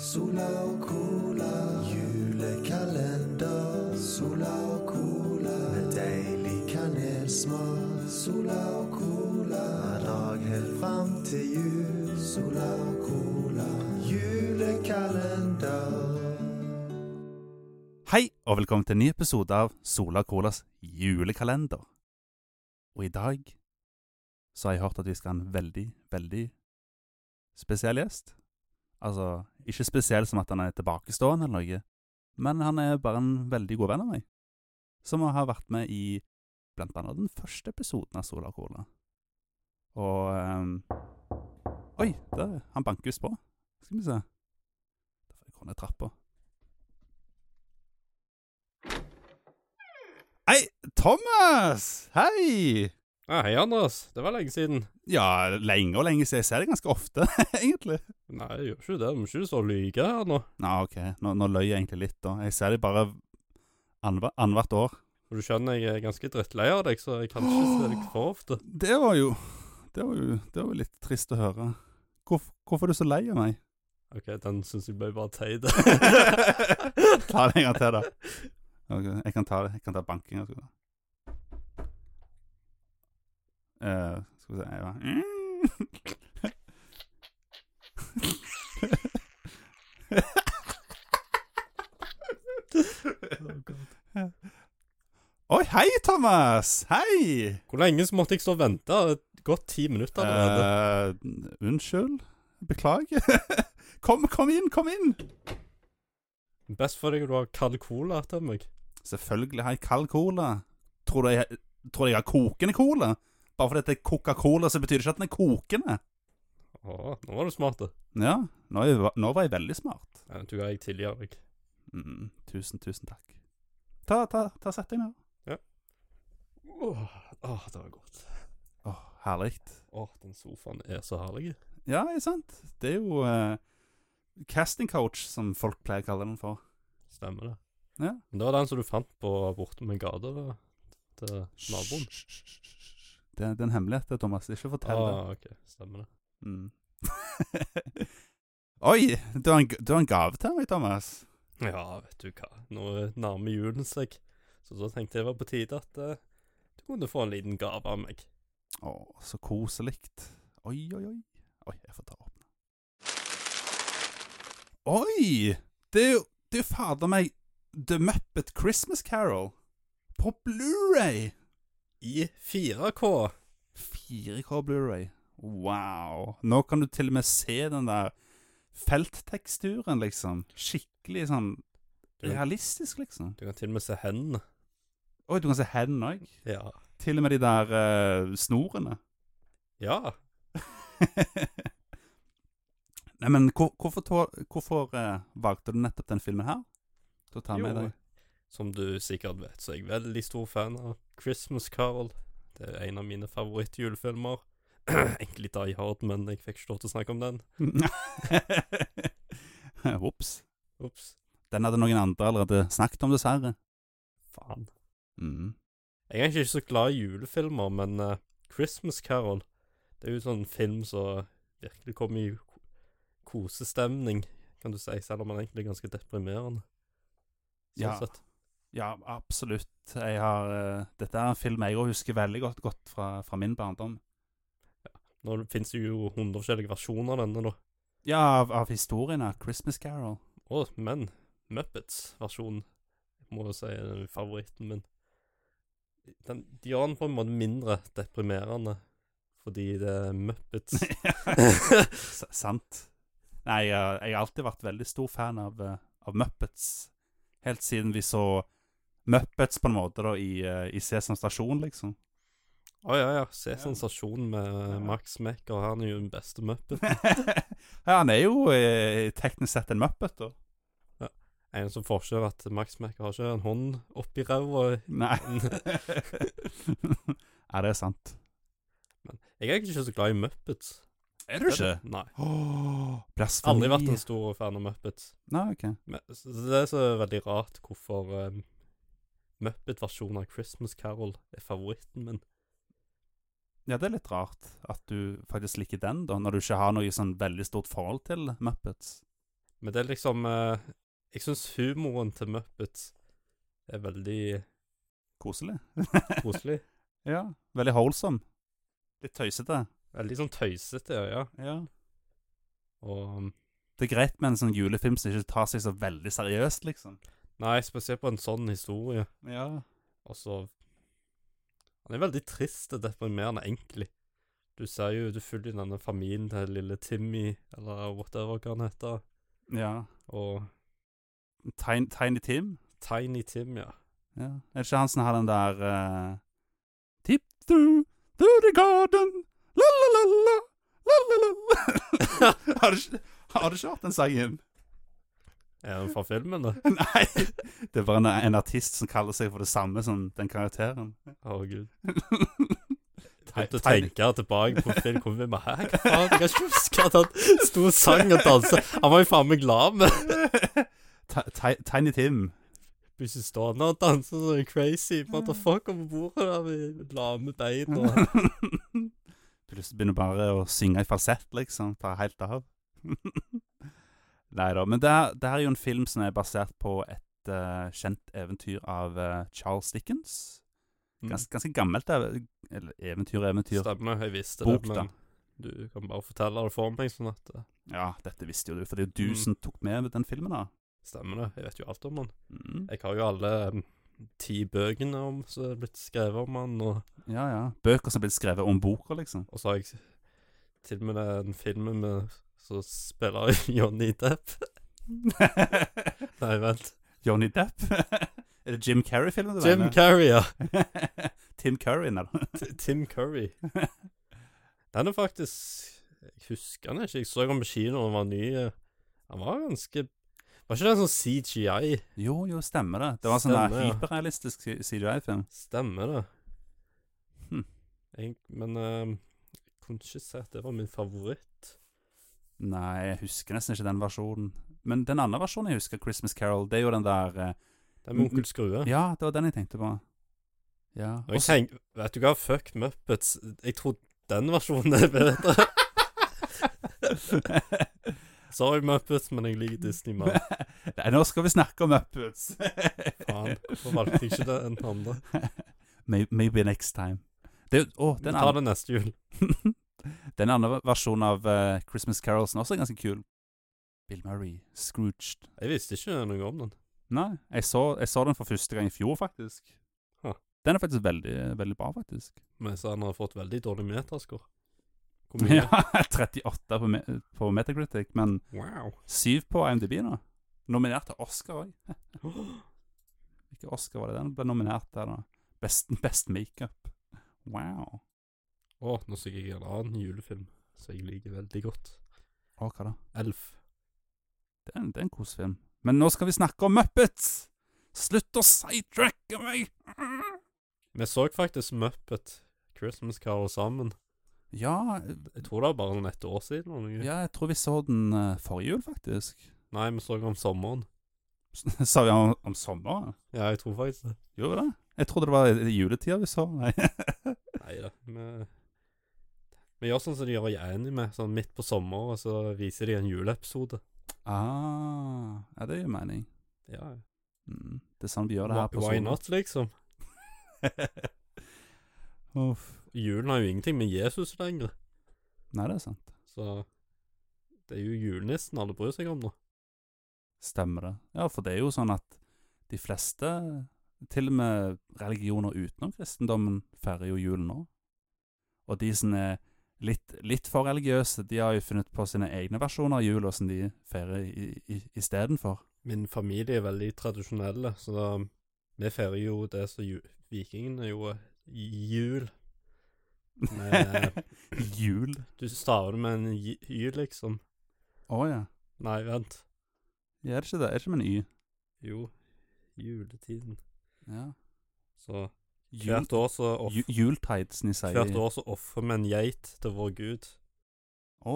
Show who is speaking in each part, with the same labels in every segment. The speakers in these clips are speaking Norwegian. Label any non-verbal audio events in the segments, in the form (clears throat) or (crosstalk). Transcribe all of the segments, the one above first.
Speaker 1: Sola og cola, julekalender. Sola og cola, med deilig kanelsmak. Sola og cola, hver dag helt fram til jul. Sola og cola, julekalender.
Speaker 2: Hei, og velkommen til en ny episode av Sola Colas julekalender. Og i dag så har jeg hørt at vi skal ha en veldig, veldig spesiell gjest. Altså, ikke spesiell som at han er tilbakestående eller noe, men han er bare en veldig god venn av meg, som har vært med i blant annet den første episoden av Sola Cola. Og ehm, Oi, der, han bankes på. Skal vi se. Da får jeg gå ned trappa. Hei, Thomas! Hei!
Speaker 3: Ja, Ah, hei, Andreas. Det var lenge siden.
Speaker 2: Ja, lenge og lenge siden. Jeg ser deg ganske ofte, (laughs) egentlig.
Speaker 3: Nei, jeg gjør ikke det. Vi må ikke stå og lyge her nå.
Speaker 2: Nå, ok. Nå, nå løy jeg egentlig litt, da. Jeg ser deg bare annhver- annethvert år.
Speaker 3: Og du skjønner, jeg er ganske drittlei av deg, så jeg kan ikke se deg for ofte.
Speaker 2: Det var jo Det var jo, det var jo litt trist å høre. Hvorf, hvorfor er du så lei av meg?
Speaker 3: OK, den syns jeg ble bare teit.
Speaker 2: (laughs) Ta det en gang til, da. Ok, jeg kan ta det. Jeg kan ta bankinga. Skal, vi se. Eh, skal vi se ja. (laughs) Oi, hei, Thomas! Hei!
Speaker 3: Hvor lenge så måtte jeg stå og vente? Et Godt ti minutter allerede.
Speaker 2: Eh, unnskyld. Beklager. (laughs) kom, kom inn, kom inn! Eh.
Speaker 3: Best for deg at du har kald cola til meg.
Speaker 2: Selvfølgelig har jeg kald cola. Tror du jeg, tror du jeg har kokende cola? Bare fordi det er Coca-Cola, så betyr det ikke at den er kokende.
Speaker 3: Å, nå var du smart. da.
Speaker 2: Ja, nå, er jeg, nå var jeg veldig smart.
Speaker 3: Nei, Du ga jeg tilgir deg.
Speaker 2: Mm, tusen, tusen takk. Ta, ta, ta sett deg ned.
Speaker 3: Åh, åh, det var godt.
Speaker 2: Åh, herlig.
Speaker 3: Åh, den sofaen er så herlig.
Speaker 2: Ja, ikke sant? Det er jo eh, casting coach, som folk pleier å kalle den for.
Speaker 3: Stemmer det.
Speaker 2: Ja.
Speaker 3: Men det var den som du fant på borte med gata da, til naboen.
Speaker 2: Hysj, hysj, hysj. Det, det er en hemmelighet, det, Thomas. Ikke fortell det.
Speaker 3: Ah, OK. Stemmer det.
Speaker 2: Mm. (laughs) Oi, du har, en, g- du har en gave til meg, Thomas.
Speaker 3: Ja, vet du hva. Nå nærmer julen seg, så da tenkte jeg det var på tide at eh, du kunne få en liten gave av meg.
Speaker 2: Å, så koselig. Oi, oi, oi. Oi, jeg får ta og åpne. Oi! Det er jo, det er jo fader meg The Muppet Christmas Carol på Blu-ray.
Speaker 3: I 4K.
Speaker 2: 4K Blu-ray. Wow. Nå kan du til og med se den der feltteksturen, liksom. Skikkelig sånn
Speaker 3: Du kan,
Speaker 2: realistisk, liksom.
Speaker 3: du kan til og med se hendene.
Speaker 2: Oi, du kan se hendene òg.
Speaker 3: Ja.
Speaker 2: Til og med de der eh, snorene.
Speaker 3: Ja.
Speaker 2: (laughs) Nei, men hvor, hvorfor, tå- hvorfor eh, valgte du nettopp den filmen her? Til å ta med
Speaker 3: Jo,
Speaker 2: deg?
Speaker 3: Som du sikkert vet, så er jeg veldig stor fan av Christmas Carol. Det er en av mine favorittjulefilmer. (clears throat) Egentlig Die Hard, men jeg fikk ikke lov til å snakke om den.
Speaker 2: (laughs) Ops.
Speaker 3: Ops.
Speaker 2: Den hadde noen andre allerede snakket om, dessverre.
Speaker 3: Faen.
Speaker 2: Mm.
Speaker 3: Jeg er egentlig ikke så glad i julefilmer, men eh, Christmas Carol Det er jo sånn film som virkelig kommer i ko- kosestemning, kan du si, selv om den egentlig er ganske deprimerende. Sånn
Speaker 2: Ja.
Speaker 3: sett.
Speaker 2: Ja, absolutt. Jeg har, eh, dette er en film jeg òg husker veldig godt, godt fra, fra min barndom.
Speaker 3: Nå fins det jo hundre forskjellige versjoner av denne, da.
Speaker 2: Ja, av, av historien av Christmas Carol.
Speaker 3: Å, men Muppets-versjonen må jo si er favoritten min. Den, de gjør den på en måte mindre deprimerende fordi det er
Speaker 2: (laughs)
Speaker 3: Muppets. (laughs)
Speaker 2: S sant. Nei, eh, jeg har alltid vært veldig stor fan av, eh, av Muppets. Helt siden vi så Muppets på en måte da, i, eh, i Sesam stasjon, liksom. (laughs)
Speaker 3: Å ja, ja. Se sensasjonen med
Speaker 2: Ja.
Speaker 3: Max Mekker. Han er jo den beste muppet.
Speaker 2: ja, han er jo eh, teknisk sett en Muppet, da.
Speaker 3: Eneste forskjell er at Max Mekker har ikke en hånd oppi ræva.
Speaker 2: Nei. (laughs)
Speaker 3: Jeg
Speaker 2: ja, det er sant.
Speaker 3: er egentlig ikke så glad i Muppets.
Speaker 2: Er
Speaker 3: Nei.
Speaker 2: Åh, blasfemi.
Speaker 3: Aldri vært en stor fan av Muppets.
Speaker 2: Nei, ok.
Speaker 3: Men, så så det er så veldig rart hvorfor um, Muppet-versjonen av Christmas Carol er favoritten min.
Speaker 2: Ja, det er litt rart at du faktisk liker den, da, når du ikke har noe sånn veldig stort forhold til Muppets.
Speaker 3: Men det er liksom eh, Jeg syns humoren til Muppets er veldig
Speaker 2: Koselig. (laughs)
Speaker 3: koselig.
Speaker 2: ja. Veldig holsom. Litt tøysete.
Speaker 3: Veldig sånn tøysete, ja.
Speaker 2: Ja.
Speaker 3: Og ehm,
Speaker 2: Det er greit med en sånn julefilm som ikke tar seg så veldig seriøst, liksom.
Speaker 3: Nei, spesielt på en sånn historie.
Speaker 2: Ja.
Speaker 3: Og så Han er veldig trist og deprimerende, egentlig. Du ser jo, du følger jo denne familien til lille Timmy, eller whatever hva han heter,
Speaker 2: ja.
Speaker 3: og
Speaker 2: Tiny, Tiny Tim?
Speaker 3: Tiny Tim, ja.
Speaker 2: Ja. Er det ikke han som har den der uh, Tip through, through the garden, la-la-la-la, la-la-la (laughs) Har du ikke har du ikke hørt den sangen?
Speaker 3: Er han fra filmen, da?
Speaker 2: (laughs) Nei. Det er bare en, en artist som kaller seg for det samme som den karakteren.
Speaker 3: (laughs) Herregud.
Speaker 2: Ti-
Speaker 3: Begynte å
Speaker 2: Tiny-
Speaker 3: tenke tilbake på film, hvor vi var her, hva faen? Jeg kan ikke huske at han sto og sang og dansa. Han var jo faen meg glad med
Speaker 2: Ti- Ti- Tiny Tim.
Speaker 3: Plutselig står han der og danser sånn crazy. What the fuck, over bordet der med lame bein og
Speaker 2: Plutselig begynner bare å synge i falsett, liksom. Ta helt av. (laughs) Nei da. Men det er, det er jo en film som er basert på et eh, kjent eventyr av eh, Charles Dickens.
Speaker 3: Mm.
Speaker 2: Gans, ganske gammelt ev eller eventyr, eventyr.
Speaker 3: Stemmer, jeg visste
Speaker 2: Bok,
Speaker 3: det,
Speaker 2: da.
Speaker 3: men du kan bare fortelle det for meg, sånn at det
Speaker 2: Ja, dette visste jo du, for det er jo du
Speaker 3: Mm.
Speaker 2: som tok med den filmen, da.
Speaker 3: stemmer det. Jeg vet jo alt om han.
Speaker 2: Mm.
Speaker 3: Jeg har jo alle mm, ti bøkene om som er blitt skrevet om han, og,
Speaker 2: Ja, ja. Bøker som er blitt skrevet om boka,
Speaker 3: (laughs)
Speaker 2: liksom.
Speaker 3: og så har jeg til og med den filmen med så spiller (laughs) Johnny Depp. Nei, vent.
Speaker 2: Johnny Depp? (laughs) er det Jim Carrey-filmen du
Speaker 3: Jim Carrey,
Speaker 2: (laughs)
Speaker 3: ja.
Speaker 2: Carrey. Tim Curry, nei.
Speaker 3: T- Tim Curry. Den er faktisk Jeg husker den ikke. Jeg så den på kino da den var ny. Den var ganske Var ikke den sånn CGI?
Speaker 2: Jo, jo, stemmer det. Det var sånn der
Speaker 3: Stemmer, ja.
Speaker 2: hyperrealistisk CGI-film.
Speaker 3: Stemmer det.
Speaker 2: Hm.
Speaker 3: Jeg, men eh, jeg kunne ikke si at det var min favoritt.
Speaker 2: Nei, jeg husker nesten ikke den versjonen. Men den andre versjonen jeg husker, Christmas Carol, det er jo den der eh,
Speaker 3: Den med
Speaker 2: Mm,
Speaker 3: Onkel Skrue.
Speaker 2: Ja, det var den jeg tenkte på. Ja.
Speaker 3: Og jeg
Speaker 2: også-
Speaker 3: tenk, vet du hva, fuck Muppets. Jeg tror den versjonen er
Speaker 2: (laughs)
Speaker 3: bedre. Sorry, Muppets, men jeg liker Disney mer.
Speaker 2: Nei, nå skal vi snakke om Muppets.
Speaker 3: (laughs) Faen, hvorfor valgte jeg ikke den andre?
Speaker 2: (laughs) May- Maybe next time. Det, er jo- å,
Speaker 3: Vi
Speaker 2: den,
Speaker 3: tar
Speaker 2: andre,
Speaker 3: det neste jul.
Speaker 2: den andre versjonen av eh, Christmas Carol som også er ganske kul. Bill Murray, Scrooged.
Speaker 3: Jeg visste ikke noe om den.
Speaker 2: Nei, jeg så, jeg så den for første gang i fjor, faktisk.
Speaker 3: Huh.
Speaker 2: Den er faktisk veldig, veldig bra, faktisk.
Speaker 3: Men så han har fått veldig dårlig meterscore. Hvor mye?
Speaker 2: (laughs) Ja, 38 på, me på Metacritic, men
Speaker 3: Wow. (gasps)
Speaker 2: 7 på IMDb nå. Nominert til Oscar òg. Hvilken Oscar var det den ble nominert til? da? Best, best makeup. Wow.
Speaker 3: Å, nå så jeg en annen julefilm som jeg liker veldig godt.
Speaker 2: Å, hva da?
Speaker 3: Elf.
Speaker 2: Det er en, det er en kosefilm. Men nå skal vi snakke om Muppets! Slutt å sidetracke meg!
Speaker 3: Vi så faktisk Muppet Christmas Carol sammen.
Speaker 2: Ja,
Speaker 3: Jeg tror det var bare noen et år siden. eller noe.
Speaker 2: ja, jeg tror vi så den eh, forrige jul, faktisk. (laughs)
Speaker 3: Nei, vi så den om sommeren.
Speaker 2: Sa vi om, om sommeren?
Speaker 3: Ja, jeg tror faktisk det.
Speaker 2: Gjorde vi det? Jeg trodde det var i- i juletida vi så. Nei. (laughs)
Speaker 3: Nei da. Vi, vi gjør sånn som de gjør i anime. Sånn midt på sommeren, og så viser de en juleepisode.
Speaker 2: Ah, ja, det gir mening.
Speaker 3: Ja, ja.
Speaker 2: Mm. Det er sånn vi gjør det her på
Speaker 3: Why
Speaker 2: Sola.
Speaker 3: not, liksom?
Speaker 2: (laughs) Uff.
Speaker 3: Julen har jo ingenting med Jesus lenger.
Speaker 2: Nei, det er sant.
Speaker 3: Så det er jo julenissen alle bryr seg om nå.
Speaker 2: Stemmer det. Ja, for det er jo sånn at de fleste, til og med religioner utenom kristendommen, feirer jo julen nå. Og de som er litt, litt for religiøse, de har jo funnet på sine egne versjoner av jula som de feirer istedenfor.
Speaker 3: Min familie er veldig tradisjonelle, så da, vi feirer jo det som ju- vikingene gjorde. eh, Jul. Med,
Speaker 2: (laughs) Jul?
Speaker 3: du staver det med en j- y, liksom.
Speaker 2: Å ja.
Speaker 3: Nei, vent.
Speaker 2: ja. Er det ikke det? Er det ikke med en Y?
Speaker 3: Jo, juletiden.
Speaker 2: Ja.
Speaker 3: Så
Speaker 2: Jul,
Speaker 3: hvert år så, off,
Speaker 2: ju, jultide, som de sier.
Speaker 3: hvert år så offer vi en geit til vår gud.
Speaker 2: Å.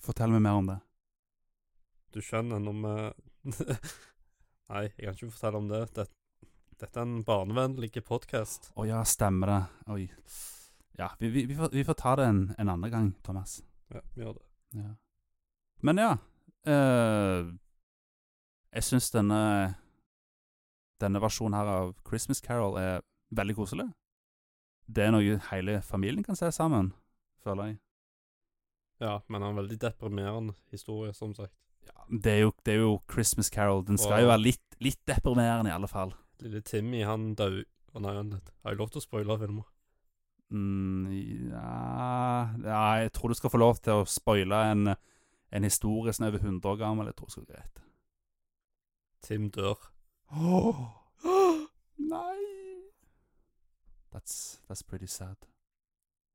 Speaker 2: Fortell meg mer om det.
Speaker 3: Du skjønner, når vi (laughs) Nei, jeg kan ikke fortelle om det. det dette er en barnevennlig podkast.
Speaker 2: Å ja, stemmer det. Oi. Ja, vi, vi, vi, får, vi får ta det en, en andre gang, Thomas.
Speaker 3: Ja, vi gjør det.
Speaker 2: Ja. Men ja eh, Jeg syns denne Denne versjonen her av Christmas Carol er veldig koselig. Det er noe hele familien kan se sammen, føler jeg.
Speaker 3: Ja, men han er en veldig deprimerende historie, som sagt.
Speaker 2: Det er jo, det er jo Christmas Carol. Den skal jo
Speaker 3: Wow.
Speaker 2: være litt, litt deprimerende, i alle fall.
Speaker 3: Lille Timmy, han dau... Å nei, vent litt. Har jeg lov til å spoile filmer?
Speaker 2: Mm, ja, ja, jeg tror du skal få lov til å spoile en, en historie som er over 100 år gammel. Jeg tror det skal gå greit.
Speaker 3: Tim dør.
Speaker 2: Nei! That's, that's pretty sad.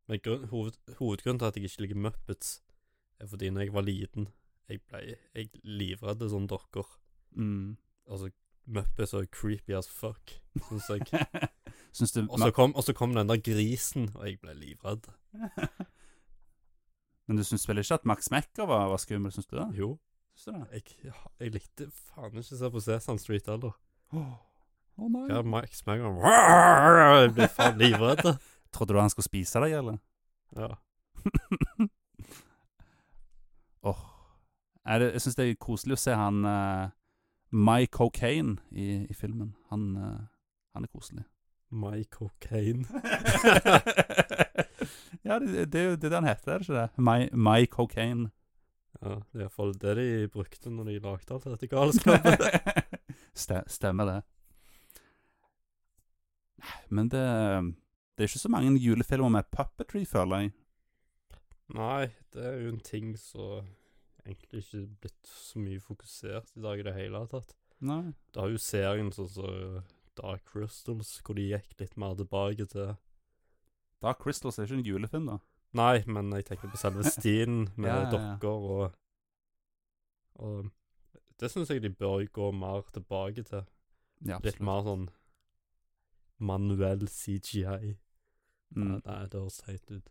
Speaker 3: Men grunn, hoved, hovedgrunnen til at jeg ikke liker Muppets, er fordi når jeg var liten, jeg ble jeg livredde sånne dokker.
Speaker 2: Mm. (laughs)
Speaker 3: Altså, Muppets er creepy as fuck, synes jeg.
Speaker 2: Syns du
Speaker 3: Og så kom, og så kom den der grisen, og jeg ble livredd.
Speaker 2: Men du syns vel ikke at Max Mekker var, var skummel, syns du det?
Speaker 3: Jo,
Speaker 2: Syns du det?
Speaker 3: jeg, jeg likte faen ikke å se på Sesam Street heller.
Speaker 2: Å nei.
Speaker 3: Ja, Max Megan (laughs) Jeg ble faen livredd.
Speaker 2: Trodde du han skulle spise deg, eller?
Speaker 3: Ja.
Speaker 2: (laughs) Åh. Er det, jeg syns det er koselig å se han eh, Mike Cocaine i, i filmen. Han, eh, han er koselig.
Speaker 3: My cocaine.
Speaker 2: (laughs) ja, det, det er jo det han heter, er det ikke det? My, my (laughs) Cocaine.
Speaker 3: Ja, det er iallfall det de brukte når de lagde alt dette galskapet. (laughs)
Speaker 2: (laughs) Ste- Stemmer det. Nei, Men det, det er ikke så mange julefilmer med puppetry, føler jeg.
Speaker 3: Nei, det er jo en ting som egentlig ikke er blitt så mye fokusert i dag i det hele tatt.
Speaker 2: Nei.
Speaker 3: Det har jo serien sånn som Dark Crystals, hvor de gikk litt mer tilbake til
Speaker 2: Dark Crystals er ikke en julefilm, da.
Speaker 3: Nei, men jeg tenker på
Speaker 2: (laughs)
Speaker 3: selve stien med
Speaker 2: Ja, ja, ja.
Speaker 3: dokker og Og det syns jeg de bør gå mer tilbake til.
Speaker 2: Ja,
Speaker 3: Litt mer sånn manuell CGI. Nei,
Speaker 2: Mm.
Speaker 3: nei, det høres teit ut.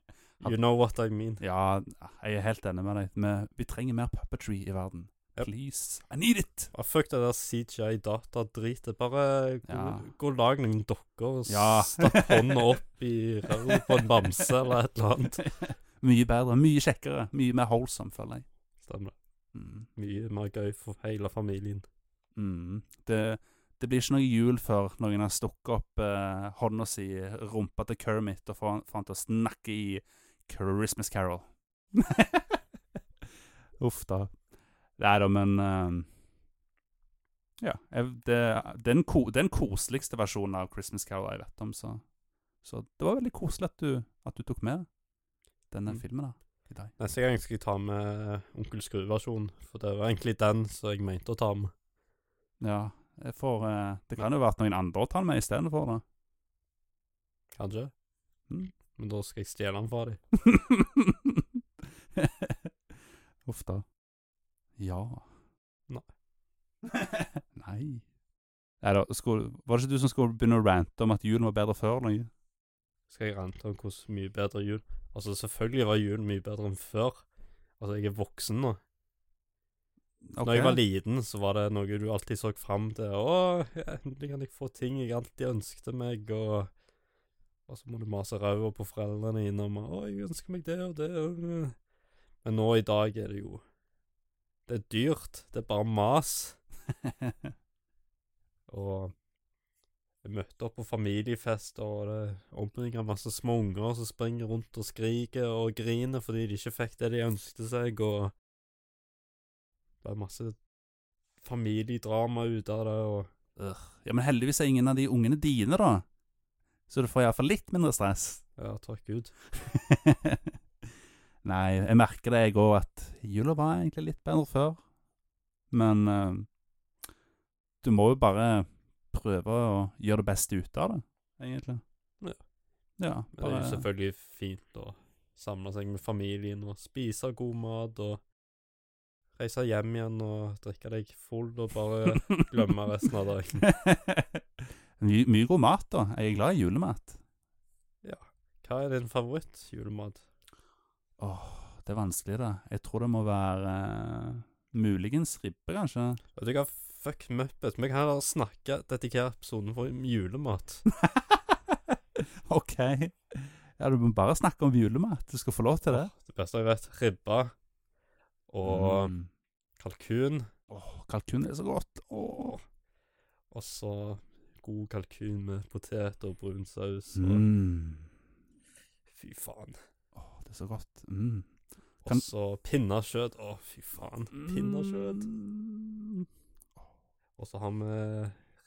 Speaker 2: (laughs)
Speaker 3: You know what I mean.
Speaker 2: ja, jeg er helt enig med deg. Men vi trenger mer puppetry i verden.
Speaker 3: Yep.
Speaker 2: Please. I need it!
Speaker 3: Ah, fuck det der CGI-datadritet. Bare gå,
Speaker 2: Ja.
Speaker 3: gå og lag noen dokker og
Speaker 2: Ja.
Speaker 3: stapp
Speaker 2: (laughs)
Speaker 3: hånda opp i røret på en bamse eller et eller annet.
Speaker 2: (laughs) Mye bedre, mye kjekkere, mye mer wholesome, føler jeg.
Speaker 3: Stemmer.
Speaker 2: Mm.
Speaker 3: Mye mer gøy for hele familien.
Speaker 2: Mm. Det, det blir ikke noe jul før noen har stukket opp eh, hånda si i rumpa til Kermit og får han- får han til å snakke i Christmas Carol. (laughs) Uff da. Nei da, men eh, Ja. Jeg, det, det, er den ko, det er den koseligste versjonen av Christmas Carol jeg vet om, så Så det var veldig koselig at du, at du tok med denne
Speaker 3: Mm.
Speaker 2: filmen da, i dag.
Speaker 3: Neste gang skal jeg ta med Onkel Skru-versjonen, for det var egentlig den som jeg mente å ta med.
Speaker 2: Ja. Jeg får, eh, det kan jo være at noen andre tar den med istedenfor, da.
Speaker 3: Kanskje?
Speaker 2: Mm.
Speaker 3: Men da skal jeg stjele den fra dem.
Speaker 2: (laughs) Uff da. Ja.
Speaker 3: Nei.
Speaker 2: (laughs) Nei. Nei da, skulle, var det ikke du som skulle begynne å rante om at julen var bedre før? Eller? noe?
Speaker 3: Skal jeg rante om hvordan mye bedre jul Altså, selvfølgelig var julen mye bedre enn før. Altså, jeg er voksen nå. Når jeg var liten, så var det noe du alltid så fram til. Å, ja, endelig kan jeg få ting jeg alltid ønsket meg, og, og så må du mase ræva på foreldrene dine om Å, jeg ønsker meg det og det. og det». Men nå i dag er det jo Det er dyrt. Det er bare mas.
Speaker 2: Li
Speaker 3: Og jeg møtte opp på familiefest, og det omringa masse små unger som springer rundt og skriker og griner fordi de ikke fikk det de ønskte seg, og det ble masse familiedrama ut av det, og
Speaker 2: (laughs) ja, Men heldigvis er ingen av de ungene dine, da. Så du får iallfall litt mindre stress.
Speaker 3: ja, takk Gud.
Speaker 2: (laughs) Nei, jeg merker det jeg òg, at jula var egentlig litt bedre før. Men eh, du må jo bare prøve å gjøre det beste ut av det, egentlig. Ja,
Speaker 3: Ja. Men det er jo
Speaker 2: bare,
Speaker 3: selvfølgelig fint å samle seg med familien og spise god mat og reise hjem igjen og drikke deg full og
Speaker 2: (laughs)
Speaker 3: bare glemme resten av dagen.
Speaker 2: mye, mye god mat, da. Jeg er glad i julemat.
Speaker 3: Hva er din favoritt-julemat?
Speaker 2: Åh, det er vanskelig, det. Jeg tror det må være eh, muligens ribbe, kanskje.
Speaker 3: (laughs)
Speaker 2: (laughs)
Speaker 3: Vet du hva, fuck Muppet. Vi kan heller snakke dedikert episoden for julemat.
Speaker 2: OK. Ja, du må bare snakke om julemat. Du skal få lov til det.
Speaker 3: Det beste jeg vet, ribba og
Speaker 2: Mm.
Speaker 3: kalkun.
Speaker 2: Åh, kalkun er så godt. Åh.
Speaker 3: Og så god kalkun med potet og brun saus. Og,
Speaker 2: Mm.
Speaker 3: fy faen.
Speaker 2: Åh, det er så godt. Mm. Kan-
Speaker 3: Og så pinnekjøtt. Å, fy faen. Pinnekjøtt.
Speaker 2: Mm.
Speaker 3: Og så har vi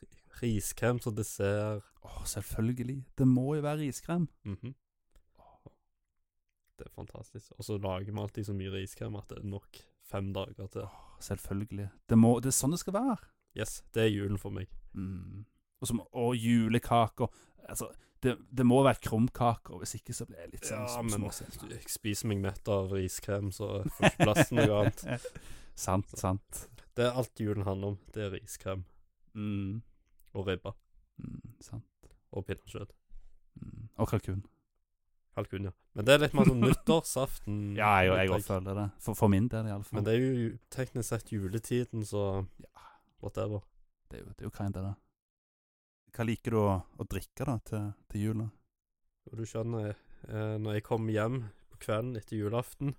Speaker 3: ri- riskrem som dessert.
Speaker 2: Åh, selvfølgelig. Det må jo være riskrem.
Speaker 3: Mhm. Det er fantastisk. Og så lager vi alltid så mye riskrem at det er nok fem dager til.
Speaker 2: Åh, selvfølgelig. Det, må, det er sånn det skal være.
Speaker 3: Yes, det er julen for meg.
Speaker 2: Mm. Og, som, og julekaker. Altså, det, det må være krumkaker, hvis ikke så blir jeg litt sånn
Speaker 3: Ja,
Speaker 2: sm-
Speaker 3: men
Speaker 2: småsint.
Speaker 3: jeg spiser meg mett av riskrem, så jeg får ikke plass til noe annet.
Speaker 2: (laughs) sant, sant.
Speaker 3: Det er alt julen handler om. Det er riskrem
Speaker 2: Mm.
Speaker 3: og ribba
Speaker 2: Mm, sant.
Speaker 3: og pinnekjøtt.
Speaker 2: Mm. Og kalkun.
Speaker 3: Kalkun, ja. Men det er litt mer sånn nyttårsaften.
Speaker 2: (laughs) Ja, jeg
Speaker 3: vet
Speaker 2: jeg òg føler det. For, for min del, iallfall.
Speaker 3: Men det er jo teknisk sett juletiden, så whatever.
Speaker 2: Det er jo, det er jo kinda det. Hva liker du å, å drikke da til, til jula?
Speaker 3: Og du skjønner, eh, når jeg kommer hjem på kvelden etter julaften,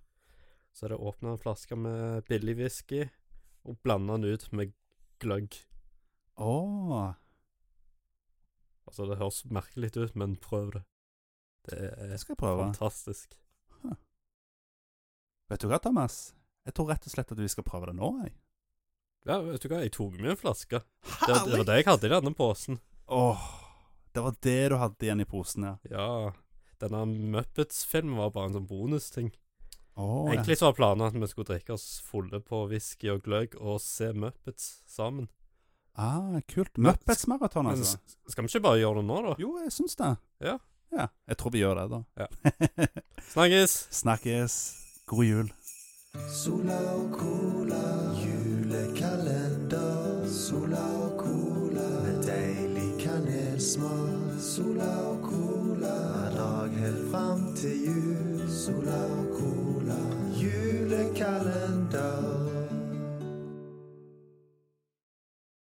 Speaker 3: så er det åpna en flaske med billig whisky og blanda den ut med gløgg.
Speaker 2: Å
Speaker 3: Altså, det høres merkelig ut, men prøv det. Det
Speaker 2: Det
Speaker 3: er
Speaker 2: skal jeg prøve.
Speaker 3: fantastisk.
Speaker 2: Vet du hva, Thomas? Jeg tror rett og slett at vi skal prøve det nå. jeg.
Speaker 3: Ja, vet du hva, jeg tok med en flaske. Det, det var det jeg hadde i denne posen.
Speaker 2: Åh, det var det du hadde igjen i posen, ja.
Speaker 3: Ja. Denne Muppets-filmen var bare en sånn bonusting.
Speaker 2: Åh, ja.
Speaker 3: Egentlig så var planen at vi skulle drikke oss fulle på whisky og gløgg og se Muppets sammen.
Speaker 2: Ah, kult. Muppets-maraton,
Speaker 3: Men
Speaker 2: altså.
Speaker 3: s- skal vi ikke bare gjøre det nå, da?
Speaker 2: Jo, jeg syns det.
Speaker 3: Ja.
Speaker 2: ja. Jeg tror vi gjør det,
Speaker 3: Ja.
Speaker 2: da.
Speaker 3: Snakkes!
Speaker 2: Snakkes. God jul.
Speaker 1: Sola og cola, julekalender. Sola og cola, med deilig kanelsmak. Sola og cola, hver dag helt fram til jul. Sola og cola, julekalender.